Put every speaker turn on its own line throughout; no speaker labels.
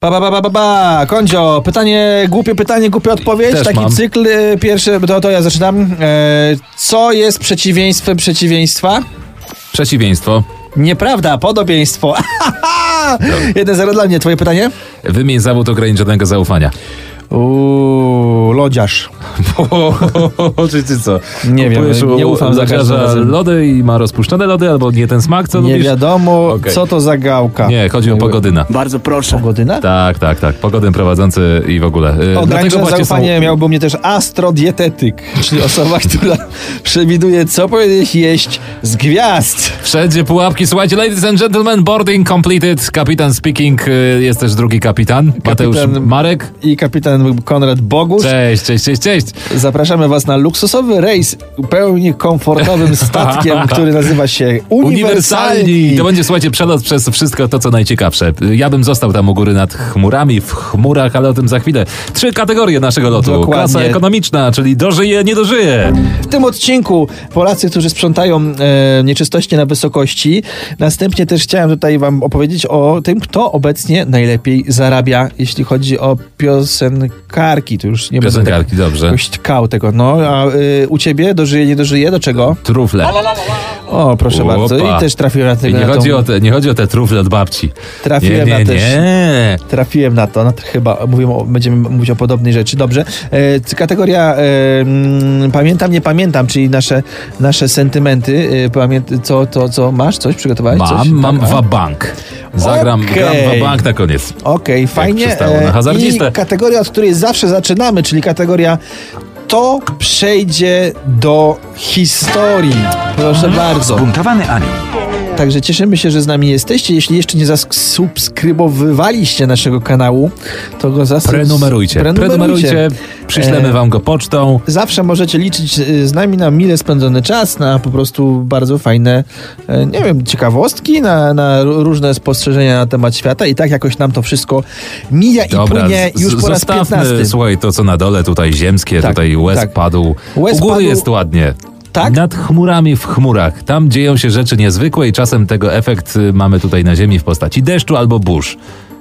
Ba, ba, ba, ba, ba, ba. Kondzio, pytanie, głupie pytanie, głupia odpowiedź.
Też
Taki
mam.
cykl y, pierwszy, to, to ja zaczynam. E, co jest przeciwieństwem przeciwieństwa?
Przeciwieństwo.
Nieprawda, podobieństwo. 1-0 dla mnie, twoje pytanie?
Wymień zawód ograniczonego zaufania.
Uuu, lodziarz.
Czy ty co?
Nie wiem,
Kupujesz
nie
u
ufam za każdym
lekarza
razem.
lody i ma rozpuszczone lody albo nie ten smak, co
Nie
lubisz?
wiadomo,
Okej.
co to za gałka.
Nie, chodzi o pogodyna.
Bardzo proszę.
Pogodyna?
Tak, tak, tak. Pogodyn prowadzący i w ogóle. Yy,
Ograniczone
właśnie
zaufanie miałby mnie też astrodietetyk, czyli osoba, która przewiduje, co powinieneś jeść z gwiazd.
Wszędzie pułapki. Słuchajcie, ladies and gentlemen, boarding completed. Kapitan speaking. y, Jest też drugi kapitan. Mateusz Marek.
I kapitan Konrad Bogusz.
Cześć, cześć, cześć, cześć.
Zapraszamy Was na luksusowy rejs pełni komfortowym statkiem, który nazywa się Uniwersalni.
Uniwersalni! To będzie, słuchajcie, przelot przez wszystko to, co najciekawsze. Ja bym został tam u góry nad chmurami, w chmurach, ale o tym za chwilę. Trzy kategorie naszego lotu.
Dokładnie.
Klasa ekonomiczna, czyli dożyje, nie dożyje.
W tym odcinku Polacy, którzy sprzątają e, nieczystości na wysokości. Następnie też chciałem tutaj Wam opowiedzieć o tym, kto obecnie najlepiej zarabia, jeśli chodzi o piosenkarki. Tu już nie będę tak
Piosenkarki, dobrze.
jakoś tkał tego. No, a y, u Ciebie dożyje, nie dożyje? Do czego?
Trufle.
O, proszę
Opa.
bardzo. I też trafiłem na,
I
tego,
nie,
na
chodzi
tą,
o te, nie chodzi o te trufle od babci.
Trafiłem
nie,
na
nie,
też.
nie.
Trafiłem na to, na to chyba mówimy o, będziemy mówić o podobnej rzeczy. Dobrze. E, c- kategoria e, mm, pamiętam, nie pamiętam, czyli nasze, nasze sentymenty. E, pamięt, co, to, co masz? Coś przygotowałeś? Coś?
Mam, mam
Tak, a?
wabank. Zagram
Okej.
gram wabank na koniec.
Okej, fajnie.
przystało na
E,
hazardzistę.
I kategoria, od której zawsze zaczynamy, czyli kategoria to przejdzie do historii. Proszę
Mhm.
bardzo.
Zbuntowany anioł.
Także cieszymy się, że z nami jesteście. Jeśli jeszcze nie zasubskrybowywaliście naszego kanału, to go zasubs-
Prenumerujcie.
prenumerujcie.
Prenumerujcie. Przyślemy
E,
wam go pocztą.
Zawsze możecie liczyć y, z nami na mile spędzony czas, na po prostu bardzo fajne, y, nie wiem, ciekawostki, na, na r- różne spostrzeżenia na temat świata i tak jakoś nam to wszystko mija i
Dobra,
płynie
z-
już po raz
zostawmy,
15.
słuchaj, to co na dole, tutaj ziemskie,
Tak,
tutaj łez
tak.
padł.
Łez
U góry
padł-
jest ładnie.
Tak?
Nad chmurami w chmurach. Tam dzieją się rzeczy niezwykłe i czasem tego efekt y, mamy tutaj na ziemi w postaci deszczu albo burz.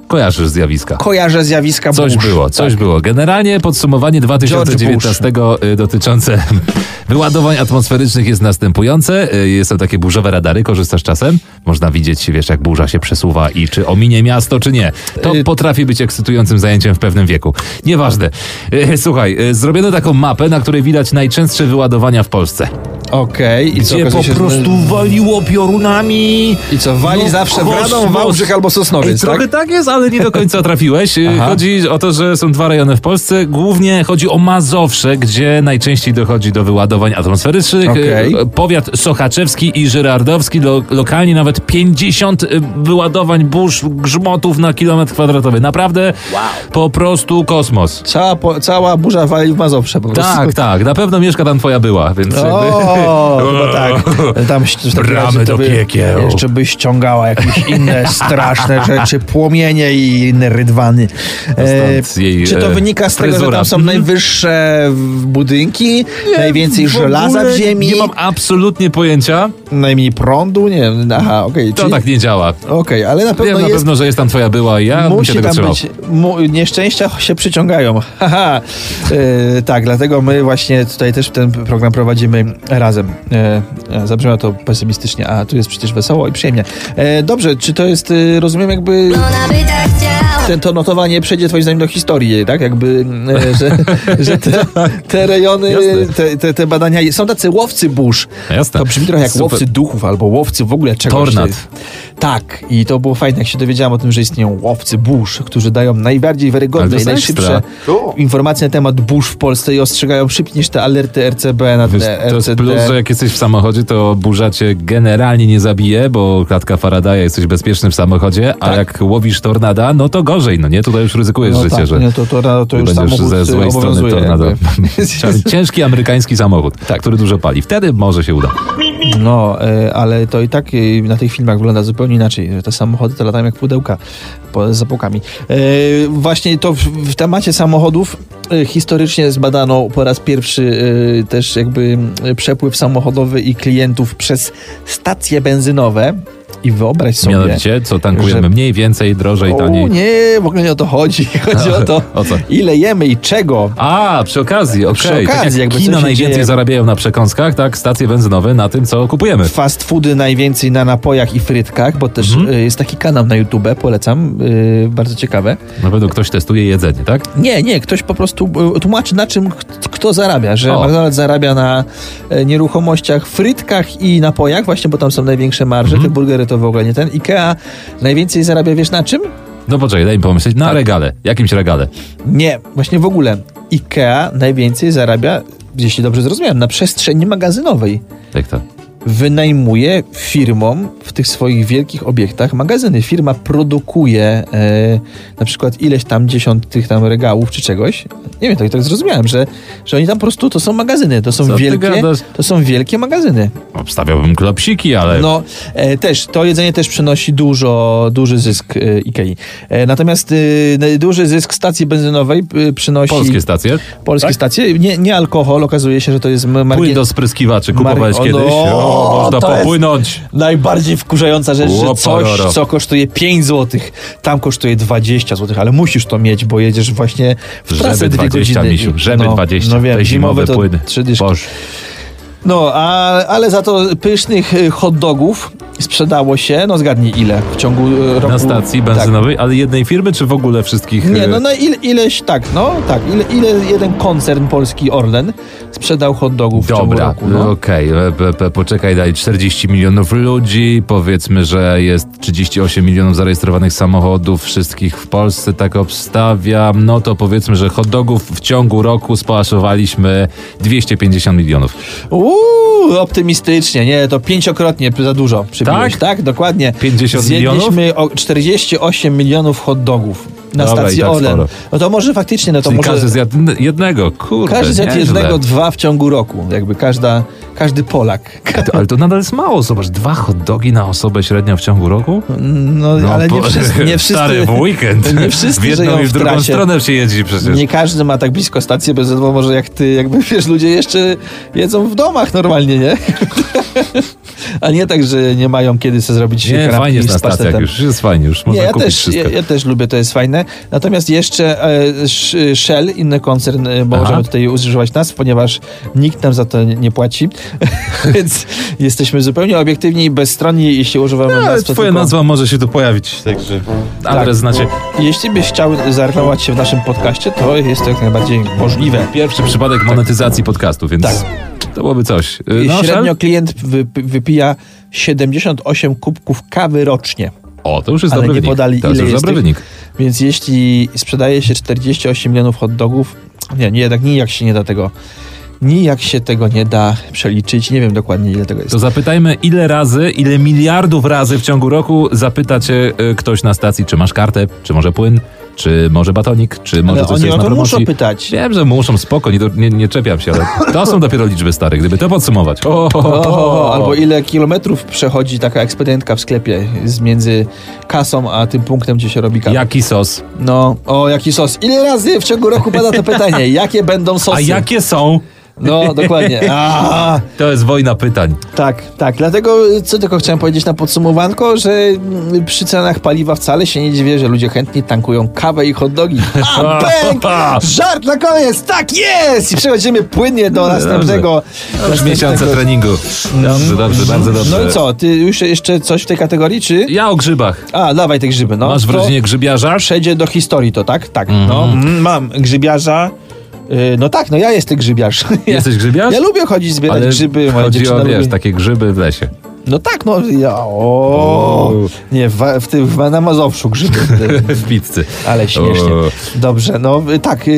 Kojarzysz zjawiska.
Kojarzę zjawiska
Coś
burz.
było, coś było. Generalnie podsumowanie 2019 y, dotyczące wyładowań atmosferycznych jest następujące. Y, Są takie burzowe radary, korzystasz czasem? Można widzieć, wiesz, jak burza się przesuwa i czy ominie miasto, czy nie. To
Y-
potrafi być ekscytującym zajęciem w pewnym wieku. Nieważne. Y, Słuchaj, y, zrobiono taką mapę, na której widać najczęstsze wyładowania w Polsce.
Tak. Okej. I co,
Gdzie
okazuje
po
się, że-
prostu waliło piorunami.
I co, wali
No,
zawsze w Radom,
kosmos.
Wałbrzych albo
Ej,
Sosnowiec,
trochę
tak?
tak? jest, ale nie do końca trafiłeś. Y,
Aha.
chodzi o to, że są dwa rejony w Polsce. Głównie chodzi o Mazowsze, gdzie najczęściej dochodzi do wyładowań atmosferycznych.
Okej.
Y, Powiat Sochaczewski i Żyrardowski, lo, lokalnie nawet 50 y, wyładowań burz, grzmotów na kilometr kwadratowy. Naprawdę po prostu kosmos.
Cała, po, cała burza wali w Mazowsze po prostu.
Tak, tak, na pewno mieszka tam twoja była, więc jakby...
O, chyba tak. Tam ś- w takim
Bramy
razie to
do
by,
piekieł.
Jeszcze by ściągała jakieś inne straszne rzeczy, płomienie i inne rydwany.
stąd jej,
czy to
e,
wynika z tego, że
fryzura.
tam są
Mhm.
najwyższe w- budynki, najwięcej
W ogóle
żelaza w ziemi,
Nie mam absolutnie pojęcia.
najmniej prądu? Nie wiem, aha, okej.
To
czyli-
tak nie działa.
Okej, ale na pewno
Wiem na
jest...
pewno, że jest tam twoja była i ja bym się
Musi
tego
tam
trzymał.
być. Mu, nieszczęścia się przyciągają. Haha. E, tak, dlatego my właśnie tutaj też ten program prowadzimy razem. E, e, zabrzmiało to pesymistycznie, a tu jest przecież wesoło i przyjemnie. E, dobrze, czy to jest, e, rozumiem, jakby
Ona by tak chciała.
ten, to notowanie przejdzie Twoim zdaniem do historii, tak? Jakby, e, że, że te, te rejony,
Tak. Jasne.
te, te, te badania. Są tacy łowcy burz.
Jasne.
To brzmi trochę jak
Super.
łowcy duchów albo łowcy w ogóle czegoś.
Tornad.
Tak, i to było fajne, jak się dowiedziałem o tym, że istnieją łowcy burz, którzy dają najbardziej
Ale to
wiarygodne i
jest
najszybsze informacje na temat burz w Polsce i ostrzegają szybciej niż te alerty RCB na
Wiesz,
te
to jest
RCD.
plus, że jak jesteś w samochodzie, to burza cię generalnie nie zabije, bo klatka Faradaya jesteś bezpieczny w samochodzie, a
Tak.
jak łowisz tornada, no to gorzej, no nie? Tutaj już ryzykujesz
no
życie,
tak,
że
nie, to, to, to, już
będziesz
samochód
ze
y,
złej strony
obowiązuje.
tornado.
jakby.
Ciężki amerykański samochód,
Tak.
który dużo pali. Wtedy może się uda.
No, e, ale to i tak e, na tych filmach wygląda zupełnie inaczej. że Te samochody to latają jak pudełka po, z zapałkami. E, właśnie to w, w temacie samochodów e, historycznie zbadano po raz pierwszy e, też jakby m, przepływ samochodowy i klientów przez stacje benzynowe. I wyobraź sobie.
Mianowicie, co tankujemy
że-
mniej, więcej, drożej,
o,
taniej.
nie, w ogóle nie o to chodzi. Chodzi o to,
O co?
ile jemy i czego.
A, przy okazji, okej.
Przy
tak
okazji,
jak
jakby co
kina
się
najwięcej
dzieje-
zarabiają na przekąskach, tak stacje benzynowe na tym, co kupujemy.
Fast foody najwięcej na napojach i frytkach, bo też
Mhm.
y, jest taki kanał na YouTube, polecam, y, bardzo ciekawe.
Na pewno ktoś testuje jedzenie, tak?
Nie, nie, ktoś po prostu y, tłumaczy na czym k- kto zarabia, że
O.
McDonald's zarabia na y, nieruchomościach, frytkach i napojach, właśnie bo tam są największe marże,
Mhm.
te burgery to w ogóle nie ten. Ikea najwięcej zarabia, wiesz na czym?
No poczekaj, daj mi pomyśleć. Na
Tak.
regale, jakimś regale.
Nie, właśnie w ogóle. Ikea najwięcej zarabia, jeśli dobrze zrozumiałem, na przestrzeni magazynowej.
Tak to.
Wynajmuje firmom w tych swoich wielkich obiektach magazyny. Firma produkuje e, na przykład ileś tam dziesiątych tam regałów czy czegoś. Nie wiem, tak, tak zrozumiałem, że, że oni tam po prostu to są magazyny. To są
Co ty
wielkie.
gadasz?
To są wielkie magazyny.
Obstawiałbym klopsiki, ale...
No, e, też, to jedzenie też przynosi dużo, duży zysk e, Ikei. E, natomiast e, n- duży zysk stacji benzynowej e, przynosi...
Polskie stacje.
Polskie
Tak?
stacje. Nie, nie alkohol, okazuje się, że to jest m-
Płyn
margin-
do spryskiwaczy kupowałeś
Mar- o,
kiedyś. O,
no,
można
to jest-
popłynąć.
najbardziej wkurzająca rzecz, że
Łopororo.
coś, co kosztuje 5 zł, tam kosztuje 20 zł, ale musisz to mieć, bo jedziesz właśnie w
Żeby
trasę dwie
20,
godziny.
misiu, żeby 20.
No wiem,
Te zimowe
to
płyny.
Trzy dyszki.
Boż.
No, a, ale za to pysznych y, hot dogów sprzedało się, no zgadnij ile w ciągu y, roku.
Na stacji benzynowej, ale jednej firmy, czy w ogóle wszystkich?
Tak. Nie,
y,
no, no ile, ileś, tak, no tak, ile, ile jeden koncern polski Orlen sprzedał hot dogów w ciągu
Dobra,
roku. No.
okej, e, p- p- poczekaj daj, 40 milionów ludzi, powiedzmy, że jest 38 milionów zarejestrowanych samochodów, wszystkich w Polsce, tak obstawiam, no to powiedzmy, że hot dogów w ciągu roku spałaszowaliśmy 250 milionów.
Uuu, optymistycznie, nie, to pięciokrotnie za dużo przybiłeś,
Tak?
tak? dokładnie.
50
Zjedliśmy o 48 milionów hot dogów na
Dobra, i
stacji
tak
Orlen.
sporo.
No to może faktycznie, no to
Czyli
może...
każdy zjadł n- jednego, kurde,
Każdy zjadł
nieźle.
jednego, dwa w ciągu roku, jakby każda, każdy Polak.
To- Ale to nadal jest mało, zobacz, dwa hot dogi na osobę średnio w ciągu roku?
No, ale nie
po-
wszyscy, nie wszyscy,
Stary, w weekend.
nie wszyscy
w jedną
żyją
i w
w
drugą
trasie.
stronę się jeździ przecież.
nie każdy ma tak blisko stacji bezodwowo, może jak ty, jakby wiesz, ludzie jeszcze jedzą w domach normalnie, nie? A nie tak, że nie mają kiedy sobie zrobić
Nie,
kanapki
fajnie jest na
z
stacjach
pasztetem.
już, jest fajnie, już
Nie,
można
ja
kupić
też,
wszystko.
ja, ja też lubię, to jest fajne. Natomiast jeszcze e, Sh- Shell, inny koncern, e, bo
Aha.
możemy tutaj używać nas, ponieważ nikt nam za to nie- nie płaci. Więc jesteśmy zupełnie obiektywni i bezstronni, jeśli używamy
No, ale
nas. to
twoja
tylko- Tak.
nazwa może się tu pojawić, także adres znacie.
Jeśli byś chciał zareklamować się w naszym podcaście, to jest to jak najbardziej możliwe.
Pierwszy przypadek monetyzacji podcastu, więc
Tak.
to byłoby coś. Y, No,
Średnio
Szal?
klient wyp- wypija 78 kubków kawy rocznie.
O, to już jest
Ale
dobry
nie
wynik.
podali,
to jest
ile
już
jest
dobry
tych-
wynik.
Więc jeśli sprzedaje się 48 milionów hot dogów, nie, nie, jednak nijak się nie da tego, nijak się tego nie da przeliczyć, nie wiem dokładnie ile tego jest.
To zapytajmy, ile razy, ile miliardów razy w ciągu roku zapyta cię y, ktoś na stacji, czy masz kartę, czy może płyn, czy może batonik, czy może
Ale
coś co
oni
jest
o
na
to
promocji.
muszą pytać.
Wiem, że muszą, spoko, nie, do- nie, nie czepiam się, ale to są dopiero liczby stare, gdyby to podsumować. O, o,
O,
o,
o, o, albo ile kilometrów przechodzi taka ekspedientka w sklepie z między kasą a tym punktem, gdzie się robi kawę.
Jaki sos?
No, o jaki sos? Ile razy w ciągu roku pada to pytanie? Jakie będą sosy?
A jakie są?
No, dokładnie. A,
To jest wojna pytań.
tak, tak. Dlatego, y, co tylko chciałem powiedzieć na podsumowanko, że mm, przy cenach paliwa wcale się nie dziwię, że ludzie chętnie tankują kawę i hot dogi. A, pęk! Żart na koniec! Tak jest! I przechodzimy płynnie do następnego...
Już
następnego-
miesiące treningu. Dobrze, dobrze, bardzo dobrze.
No i co? Ty już jeszcze coś w tej kategorii, czy...
Ja o grzybach.
A, dawaj te grzyby, no.
Masz w
To-
rodzinie Mhm. grzybiarza?
przejdzie do historii, to tak? Tak. No, mm, mam grzybiarza. Yy, No tak, no ja jestem grzybiarz. Ja,
Jesteś grzybiarz?
ja lubię chodzić zbierać
Ale
grzyby, moja
chodzi
dziewczyna
o,
lubi.
wiesz, takie grzyby w lesie.
No tak, no ja, o,
Uuu.
Nie, w, wa- w tym, w, na Mazowszu grzyby.
W pizzy.
Ale śmiesznie.
Uuu.
Dobrze, no y, tak. Yy,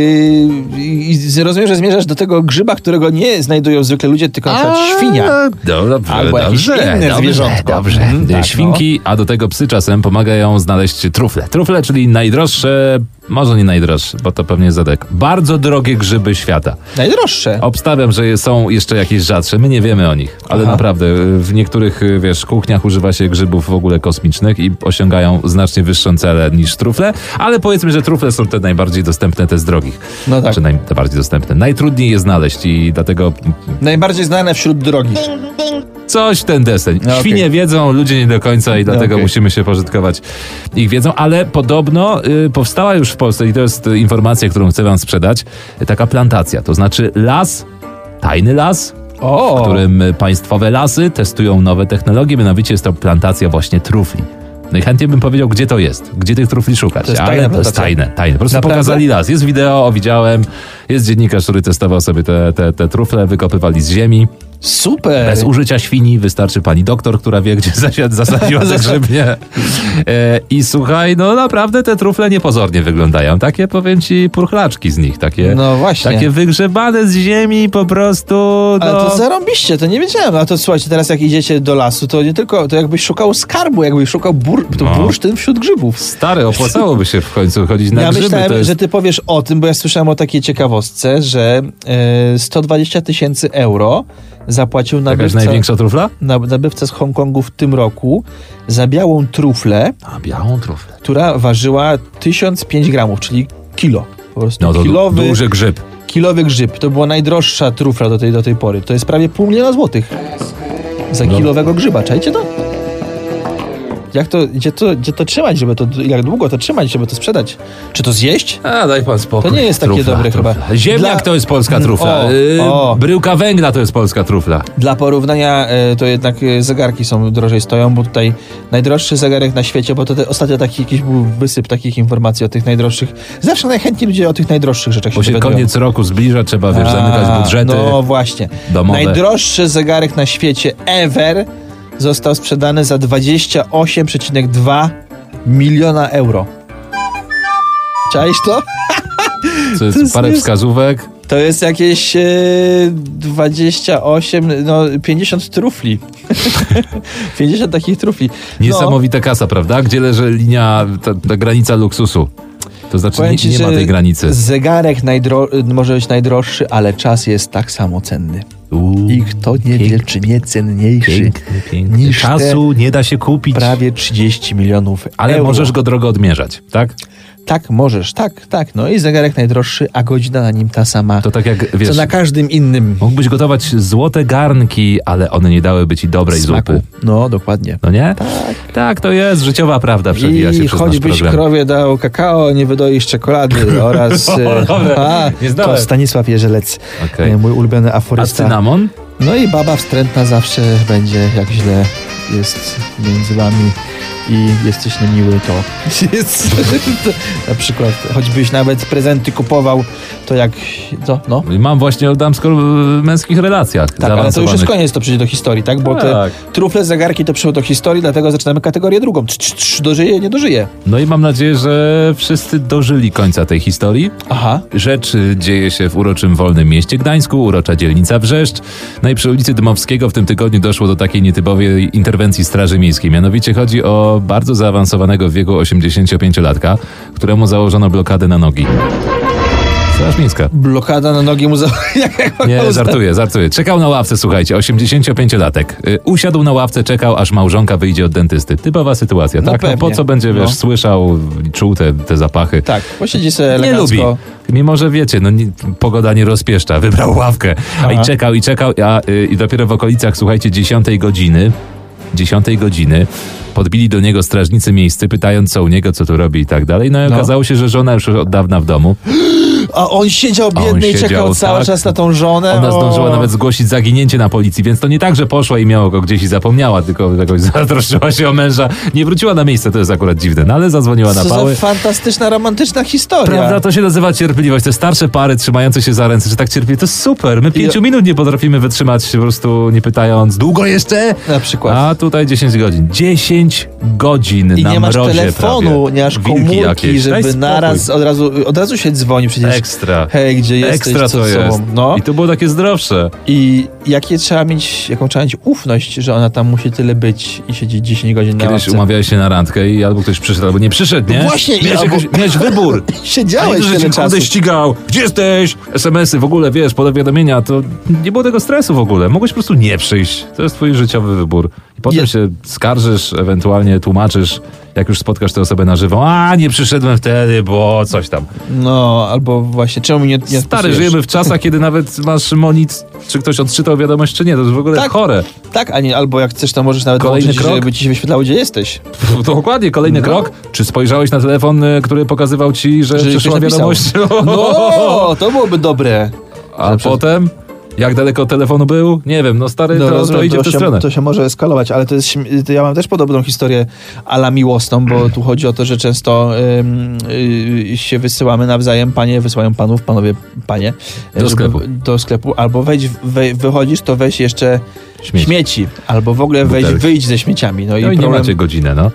i z- rozumiem, że zmierzasz do tego grzyba, którego nie znajdują zwykle ludzie, tylko na przykład świnia.
No, dobrze,
Albo jakieś
dobrze,
inne
dobrze,
zwierzątko.
Dobrze.
Mhm, tak,
Świnki, a do tego psy czasem pomagają znaleźć trufle. Trufle, czyli najdroższe, może nie najdroższe, bo to pewnie zadek. Bardzo drogie grzyby świata.
Najdroższe.
Obstawiam, że są jeszcze jakieś rzadsze. My nie wiemy o nich, ale
Aha.
naprawdę y, w niektórych, y, wiesz, kuchniach używa się grzybów w ogóle kosmicznych i osiągają znacznie wyższą celę niż trufle, ale powiedzmy, że trufle są te najbardziej dostępne, te z drogich.
No tak.
Czy naj, te bardziej dostępne. Najtrudniej je znaleźć i dlatego
Najbardziej znane wśród drogich.
Ding, ding,
Coś w ten deseń.
No, okej. No,
Świnie wiedzą, ludzie nie do końca i dlatego
okej.
musimy się pożytkować ich wiedzą, ale podobno y, powstała już w Polsce i to jest y, informacja, którą chcę wam sprzedać, y, taka plantacja, to znaczy las, tajny las,
O!
w którym y, państwowe lasy testują nowe technologie, mianowicie jest to plantacja właśnie trufli. No i chętnie bym powiedział, gdzie to jest, gdzie tych trufli szukać,
To jest
ale
tajna
to jest
plantacja.
tajne, tajne. Po prostu
Naprawdę?
pokazali las. Jest wideo, widziałem, jest dziennikarz, który testował sobie te, te, te trufle, wykopywali z ziemi.
Super!
Bez użycia świni wystarczy pani doktor, która wie, gdzie zasiad- zasadziła te grzybnie. E, I słuchaj, no naprawdę te trufle niepozornie wyglądają. Takie, powiem ci, purchlaczki z nich. Takie,
No właśnie.
takie wygrzebane z ziemi po prostu. No.
Ale to zarąbiście, to nie wiedziałem. A to słuchajcie, teraz jak idziecie do lasu, to nie tylko, to jakbyś szukał skarbu, jakbyś szukał bur, to
No.
bursztyn wśród grzybów.
Stary, opłacałoby się w końcu chodzić na
ja
grzyby.
myślałem,
to jest...
że ty powiesz o tym, bo ja słyszałem o takiej ciekawostce, że e, 120 tysięcy euro zapłacił
Jakaś
nabywca,
największa trufla?
na- nabywca z Hongkongu w tym roku za białą truflę,
A, białą truflę.
która ważyła 1005 gramów, czyli kilo. Po prostu
No to du-
kilowy,
duży grzyb.
kilowy grzyb. To była najdroższa trufla do tej, do tej pory. To jest prawie pół miliona złotych za
No.
kilowego grzyba. Czajcie to? Jak to, gdzie to, gdzie to trzymać, żeby to, jak długo to trzymać, żeby to sprzedać? Czy to zjeść?
A, daj pan spokój.
To nie jest takie dobre chyba.
Ziemniak
Dla- Mm,
to jest polska trufla.
O,
Y,
o.
Bryłka węgla to jest polska trufla.
Dla porównania e, to jednak e, zegarki są drożej stoją, bo tutaj najdroższy zegarek na świecie, bo to te, ostatnio taki jakiś był wysyp takich informacji o tych najdroższych. Zawsze najchętniej ludzie o tych najdroższych rzeczach się
Bo się
dowiadują.
koniec roku zbliża, trzeba wiesz,
A,
zamykać budżety.
No właśnie.
domowe.
Najdroższy zegarek na świecie ever został sprzedany za 28,2 miliona euro. Czaisz to?
Co jest,
To jest
parę
nies-
wskazówek.
To jest jakieś e, 28, no 50 trufli. 50 takich trufli. No,
Niesamowita kasa, prawda? Gdzie leży linia, ta, ta granica luksusu? To znaczy
powiem
nie,
ci,
nie ma
że
tej granicy.
Zegarek najdro- może być najdroższy, ale czas jest tak samo cenny.
Uuu,
I kto nie wie, czy nie cenniejszy
piękny, piękny.
niż te
Czasu nie da się kupić.
prawie 30 milionów
Ale
euro.
możesz go drogo odmierzać, tak?
Tak, możesz, tak, tak. No i zegarek najdroższy, a godzina na nim ta sama.
To tak jak, wiesz,
co na każdym innym
mógłbyś gotować złote garnki, ale one nie dałyby ci dobrej
smaku.
zupy.
No, dokładnie.
No nie? Tak. to jest życiowa prawda, przewija się
I
przez nasz
choćbyś
program.
krowie dał kakao, nie wydoisz czekolady oraz...
O,
e,
dobre,
a,
nie znałem.
to Stanisław Jerzelec,
Okej.
e, mój ulubiony
A
aforysta.
cynamon?
No i baba wstrętna zawsze będzie, jak źle jest między wami i jesteś niemiły, to jest... to- na przykład, choćbyś nawet prezenty kupował, to jak... To, no.
Mam właśnie o damsko-męskich relacjach
Tak, ale to już jest
zaawansowanych.
koniec, to przyjdzie do historii, tak? Bo te
Tak.
trufle, zegarki to przyszło do historii, dlatego zaczynamy kategorię drugą. Trz, trz, trz, dożyje, nie dożyje.
No i mam nadzieję, że wszyscy dożyli końca tej historii.
Aha.
Rzecz y, dzieje się w uroczym Wolnym Mieście Gdańsku, urocza dzielnica Wrzeszcz. No i przy ulicy Dymowskiego w tym tygodniu doszło do takiej nietypowej interwencji Straży Miejskiej. Mianowicie chodzi o bardzo zaawansowanego w wieku 85-latka, któremu założono blokadę na nogi. Straż Miejska.
Blokada na nogi mu za... jak- jak
Nie,
można-
żartuję, żartuję. Czekał na ławce, słuchajcie, 85-latek. Y, Usiadł na ławce, czekał, aż małżonka wyjdzie od dentysty. Typowa sytuacja,
No
tak? No po
pewnie.
co będzie, wiesz,
No.
słyszał, czuł te, te zapachy.
Tak, posiedzi sobie
Nie
elegancko.
lubi. Mimo, że wiecie, no, nie, pogoda nie rozpieszcza. Wybrał ławkę. A i
Aha.
czekał, i czekał, a, y, i dopiero w okolicach, słuchajcie, 10 godziny, 10 godziny podbili do niego strażnicy miejscy, pytając co u niego, co tu robi i tak dalej. No i
No.
okazało się, że żona już od dawna w domu.
A on siedział
A on
biedny i
siedział,
czekał cały
tak.
czas na tą żonę.
Ona
O.
zdążyła nawet zgłosić zaginięcie na policji, więc to nie tak, że poszła i miała go gdzieś i zapomniała, tylko jakoś zatroszczyła się o męża. Nie wróciła na miejsce, to jest akurat dziwne, no ale zadzwoniła na
Co
pały.
za fantastyczna, romantyczna historia.
Prawda, to się nazywa cierpliwość. Te starsze pary trzymające się za ręce, że tak cierpli, to jest super. My pięciu minut nie potrafimy wytrzymać się po prostu nie pytając, długo jeszcze?
Na przykład.
A tutaj 10 godzin. 10 godzin
I
na
nie masz
mrozie
telefonu,
prawie.
nie masz
Wilki
komórki,
jakieś. Daj
żeby
spokój.
naraz od razu, od razu się dzwoni przecież.
Ekstra.
Hej, gdzie jesteś?
Ekstra
co
to
z
jest.
Sobą? No.
I to było takie zdrowsze.
I jakie trzeba mieć, jaką trzeba mieć ufność, że ona tam musi tyle być i siedzieć 10 godzin na
Kiedyś
ławce.
umawiałeś się na randkę i albo ktoś przyszedł, albo nie przyszedł, nie?
No właśnie,
miałeś,
albo-
jakoś, miałeś wybór.
Siedziałeś
Ale
tyle
że
czasu.
cię ścigał, gdzie jesteś? SMS-y w ogóle, wiesz, powiadomienia, to nie było tego stresu w ogóle. Mogłeś po prostu nie przyjść. To jest twój życiowy wybór. I potem
Je-
się skarżysz ewentualnie tłumaczysz, jak już spotkasz tę osobę na żywo, a nie przyszedłem wtedy, bo coś tam.
No, albo właśnie, czemu mi nie, nie
Stary,
odpisujesz?
żyjemy w czasach, kiedy nawet masz monic, czy ktoś odczytał wiadomość, czy nie, to jest w ogóle
Tak.
chore.
Tak, a nie, albo jak chcesz, to możesz nawet
Kolejny
włączyć,
krok?
żeby ci się wyświetlało, gdzie jesteś.
Pff, Dokładnie, kolejny
No.
krok. Czy spojrzałeś na telefon, y, który pokazywał ci, że
Że
przyszła
ktoś napisał.
wiadomość?
No, to byłoby dobre.
A
Na przykład-
potem, jak daleko od telefonu był? Nie wiem, no stary,
No,
to, to
rozumiem,
idzie w
to,
tę
się,
stronę.
to się może eskalować, ale to jest, śm- to ja mam też podobną historię ala miłosną, bo tu chodzi o to, że często ym, y, się wysyłamy nawzajem, panie wysyłają panów, panowie panie.
Do
żeby-
sklepu.
Do sklepu, albo wejdź, wej- wychodzisz, to weź jeszcze śmieci,
Śmieci.
albo w ogóle wejdź,
Butelki.
wyjdź ze śmieciami. No,
No
i
i nie
problem,
macie godzinę, no.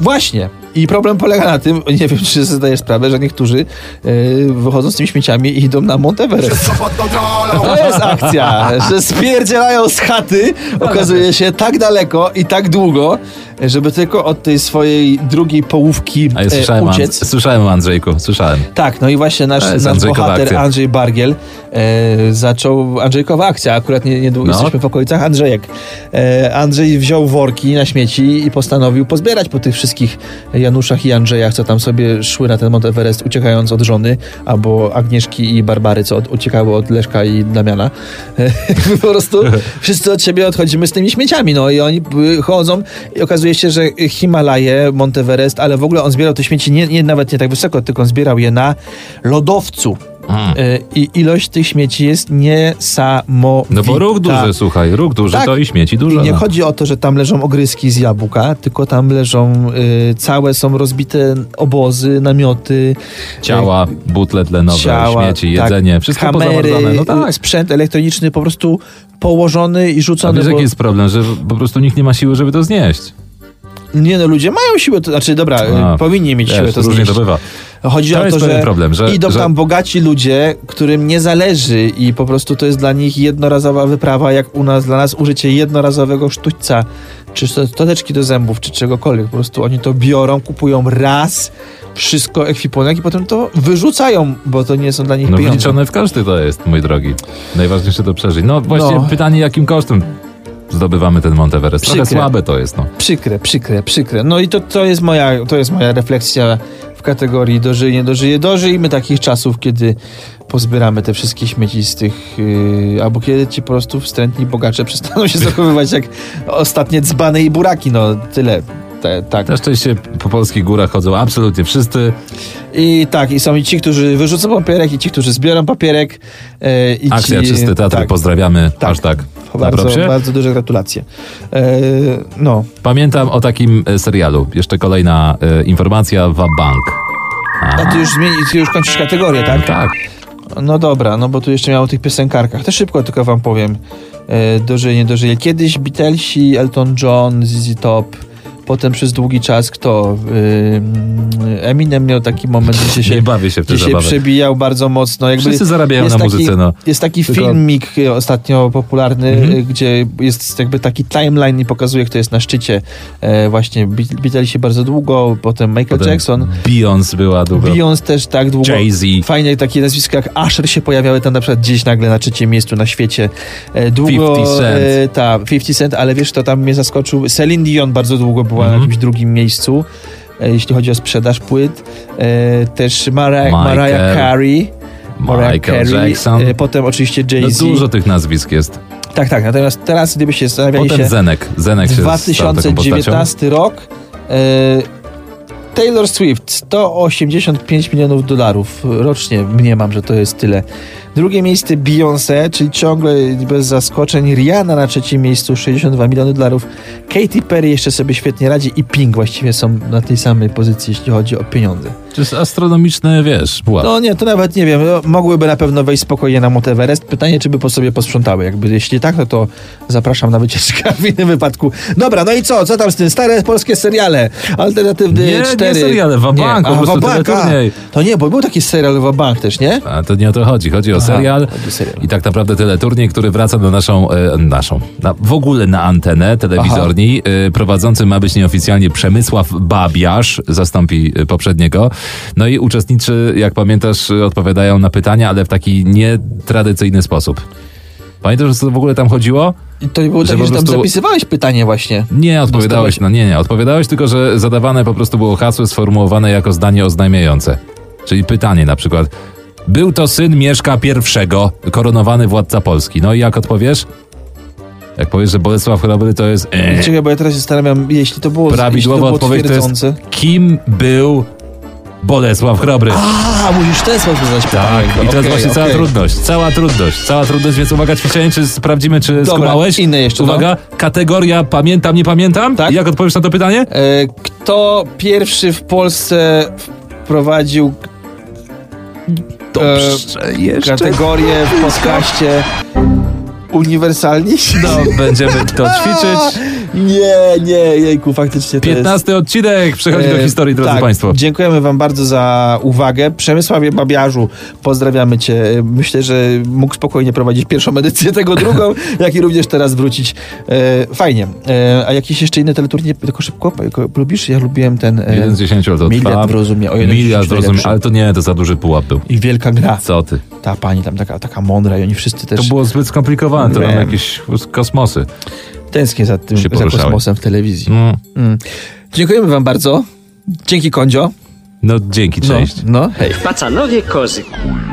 Właśnie. I problem polega na tym, nie wiem, czy zdajesz sprawę, że niektórzy yy, wychodzą z tymi śmieciami i idą na Monteverest.
Wszystko pod kontrolą.
To jest akcja, że spierdzielają z chaty, okazuje się, tak daleko i tak długo, żeby tylko od tej swojej drugiej połówki
A ja
e,
słyszałem,
uciec.
Andrzej, słyszałem o Andrzejku, słyszałem.
Tak, no i właśnie
To
nasz,
jest
nasz
Andrzejkowa
bohater
akcja.
Andrzej Bargiel e, zaczął Andrzejkowa akcja, akurat nie, nie
No.
jesteśmy w okolicach Andrzejek. E, Andrzej wziął worki na śmieci i postanowił pozbierać po tych wszystkich Januszach i Andrzejach, co tam sobie szły na ten Mount Everest, uciekając od żony, albo Agnieszki i Barbary, co od, uciekały od Leszka i Damiana. E, po prostu wszyscy od siebie odchodzimy z tymi śmieciami, no i oni y, chodzą i okazuje się, że Himalaje, Monteverest, ale w ogóle on zbierał te śmieci nie, nie, nawet nie tak wysoko, tylko on zbierał je na lodowcu.
Mm.
Y, I ilość tych śmieci jest niesamowita.
No bo ruch duży, słuchaj, ruch duży
Tak.
to i śmieci
I
duże.
nie
no.
chodzi o to, że tam leżą ogryski z jabłka, tylko tam leżą y, całe są rozbite obozy, namioty, y,
Ciała, butle tlenowe, śmieci,
tak,
jedzenie, wszystko pozamordane.
kamery, y,
No tak.
sprzęt elektroniczny po prostu położony i
A
rzucony.
wiesz,
bo-
jaki jest problem, że po prostu nikt nie ma siły, żeby to znieść.
Nie no, ludzie mają siłę, to, znaczy dobra,
A,
y, powinni mieć siłę
Wiesz,
to znaczy,
różnie
znieść.
to bywa.
Chodzi
To
o
jest
to,
pewien
że
problem, że-
idą
że-
tam bogaci ludzie, którym nie zależy i po prostu to jest dla nich jednorazowa wyprawa, jak u nas, dla nas użycie jednorazowego sztućca, czy sto- toteczki do zębów, czy czegokolwiek. Po prostu oni to biorą, kupują raz wszystko, ekwipunek i potem to wyrzucają, bo to nie są dla nich
No
pieniądze.
wliczone w koszty to jest, mój drogi. Najważniejsze to przeżyć. No właśnie
No.
pytanie, jakim kosztem zdobywamy ten Monteverest? Trochę
Przykre.
słabe to jest, no.
Przykre, przykre, przykre. No i to, to, jest moja, to jest moja refleksja w kategorii dożyje, nie dożyje. Dożyjmy takich czasów, kiedy pozbieramy te wszystkie śmieci z tych... Yy, albo kiedy ci po prostu wstrętni bogacze przestaną się zachowywać jak ostatnie dzbany i buraki. No tyle. Te, tak.
Na szczęście po polskich górach chodzą absolutnie wszyscy.
I tak, i są i ci, którzy wyrzucą papierek, i ci, którzy zbiorą papierek. Yy, i
Akcja
ci,
Czysty Teatr, pozdrawiamy.
Tak.
Aż tak. Na
Bardzo,
propsie?
bardzo duże gratulacje. Yy, no.
Pamiętam o takim e, serialu. Jeszcze kolejna e, informacja, Wabank.
A ty już, zmieni, ty już kończysz kategorię, tak?
Tak.
No dobra, no bo tu jeszcze miałem o tych piosenkarkach. To szybko tylko wam powiem. E, dożyję, nie dożyję. Kiedyś Beatlesi, Elton John, ZZ Top. Potem przez długi czas kto? Ym, Eminem miał taki moment, gdzie
Nie
się,
bawię się w te
gdzie się
zabawy.
przebijał bardzo mocno. Jakby
Wszyscy zarabiają na
jest taki-
muzyce, no.
Jest taki
Tylko- Mhm.
filmik e, ostatnio popularny, e, gdzie jest jakby taki timeline i pokazuje, kto jest na szczycie. E, właśnie Beat- Beatlesi bardzo długo, potem Michael
Potem
Jackson.
Beyoncé była długo.
Beyoncé też tak długo.
Jay-Z.
Fajne takie nazwiska jak Asher się pojawiały tam na przykład gdzieś nagle na trzecim miejscu na świecie. E, Długo,
50 Cent.
E, ta, 50 Cent, ale wiesz, to tam mnie zaskoczył. Celine Dion bardzo długo była
Mhm.
na jakimś drugim miejscu, e, jeśli chodzi o sprzedaż płyt. E, też Mara,
Michael.
Mariah Carey. Mariah
Michael Jackson.
e, Potem oczywiście
No
Jay-Z.
dużo tych nazwisk jest.
Tak, tak. Natomiast teraz, gdybyście zastanawiali
Potem
się...
Zenek. Zenek się stał taką postacią.
2019 rok. E, Taylor Swift 185 milionów dolarów rocznie, mniemam, że to jest tyle. Drugie miejsce Beyoncé, czyli ciągle bez zaskoczeń. Rihanna na trzecim miejscu 62 miliony dolarów. Katy Perry jeszcze sobie świetnie radzi i Pink właściwie są na tej samej pozycji, jeśli chodzi o pieniądze.
To jest astronomiczne, wiesz, pułap.
No nie, to nawet nie wiem. No, Mogłyby na pewno wejść spokojnie na Mount Everest. Pytanie, czy by po sobie posprzątały. Jakby, jeśli tak, no to zapraszam na wycieczkę w innym wypadku. Dobra, no i co? Co tam z tym? Stare polskie seriale. Alternatywny
Nie, nie
4.
seriale, Wabank, po
aha,
prostu
Wabank,
tyle
a.
turniej.
To nie, bo był taki serial Wabank też, nie?
A to nie o to chodzi. Chodzi o serial.
chodzi o serial.
I tak naprawdę teleturniej, który wraca do naszą, e, naszą, na, w ogóle na antenę telewizorni. E, prowadzący ma być nieoficjalnie Przemysław Babiarz, zastąpi e, poprzedniego. No i uczestniczy, jak pamiętasz, e, odpowiadają na pytania, ale w taki nietradycyjny sposób. Pamiętasz, o co w ogóle tam chodziło?
I to nie było
Że
takie,
po
że tam
prostu-
zapisywałeś pytanie właśnie.
Nie, odpowiadałeś, no nie, nie, odpowiadałeś, tylko że zadawane po prostu było hasło sformułowane jako zdanie oznajmiające. Czyli pytanie na przykład. Był to syn Mieszka I, koronowany władca Polski. No i jak odpowiesz? Jak powiesz, że Bolesław Chrobry to jest... e,
Czekaj, bo ja teraz się zastanawiam, jeśli to było, jeśli to
prawidłowa
było
odpowiedź to jest...
twierdzące.
Kim był Bolesław Chrobry?
A, musisz w ten sposób zadać pytanie.
Tak, i to jest
Okej,
właśnie cała
okej.
trudność. Cała trudność, cała trudność, więc uwaga, ćwiczenie, czy sprawdzimy, czy
Dobra,
skumałeś.
inne jeszcze, no.
Uwaga, kategoria pamiętam, nie pamiętam.
Tak.
I jak odpowiesz na to pytanie?
E, Kto pierwszy w Polsce wprowadził Dobrze,
jeszcze.
kategorię w podcaście uniwersalni?
No, będziemy to ćwiczyć.
Nie, nie, jejku, faktycznie to jest...
15 odcinek przechodzi do
E,
historii, drodzy
tak,
Państwo.
Dziękujemy Wam bardzo za uwagę. Przemysławie Babiarzu, pozdrawiamy Cię. E, Myślę, że mógł spokojnie prowadzić pierwszą edycję, tego drugą, jak i również teraz wrócić. E, fajnie. E, a jakieś jeszcze inne teleturnie, tylko szybko, jako, lubisz? Ja lubiłem ten... E,
Jeden z 10 to
Miliard
trwa.
rozumie. O, jeden
Miliard
dziesięć
rozumiem,
najlepszy.
ale to nie, to za duży pułap był.
I wielka gra.
Co ty?
Ta pani tam, taka, taka mądra i oni wszyscy też
To było zbyt skomplikowane, to
Wiem.
nam jakieś kosmosy.
tęsknię za tym,
Się
za
poruszałem.
kosmosem w telewizji.
Mm.
Mm. Dziękujemy wam bardzo. Dzięki, Kondzio.
No dzięki, cześć.
No, no hej.
Pacanowie kozy.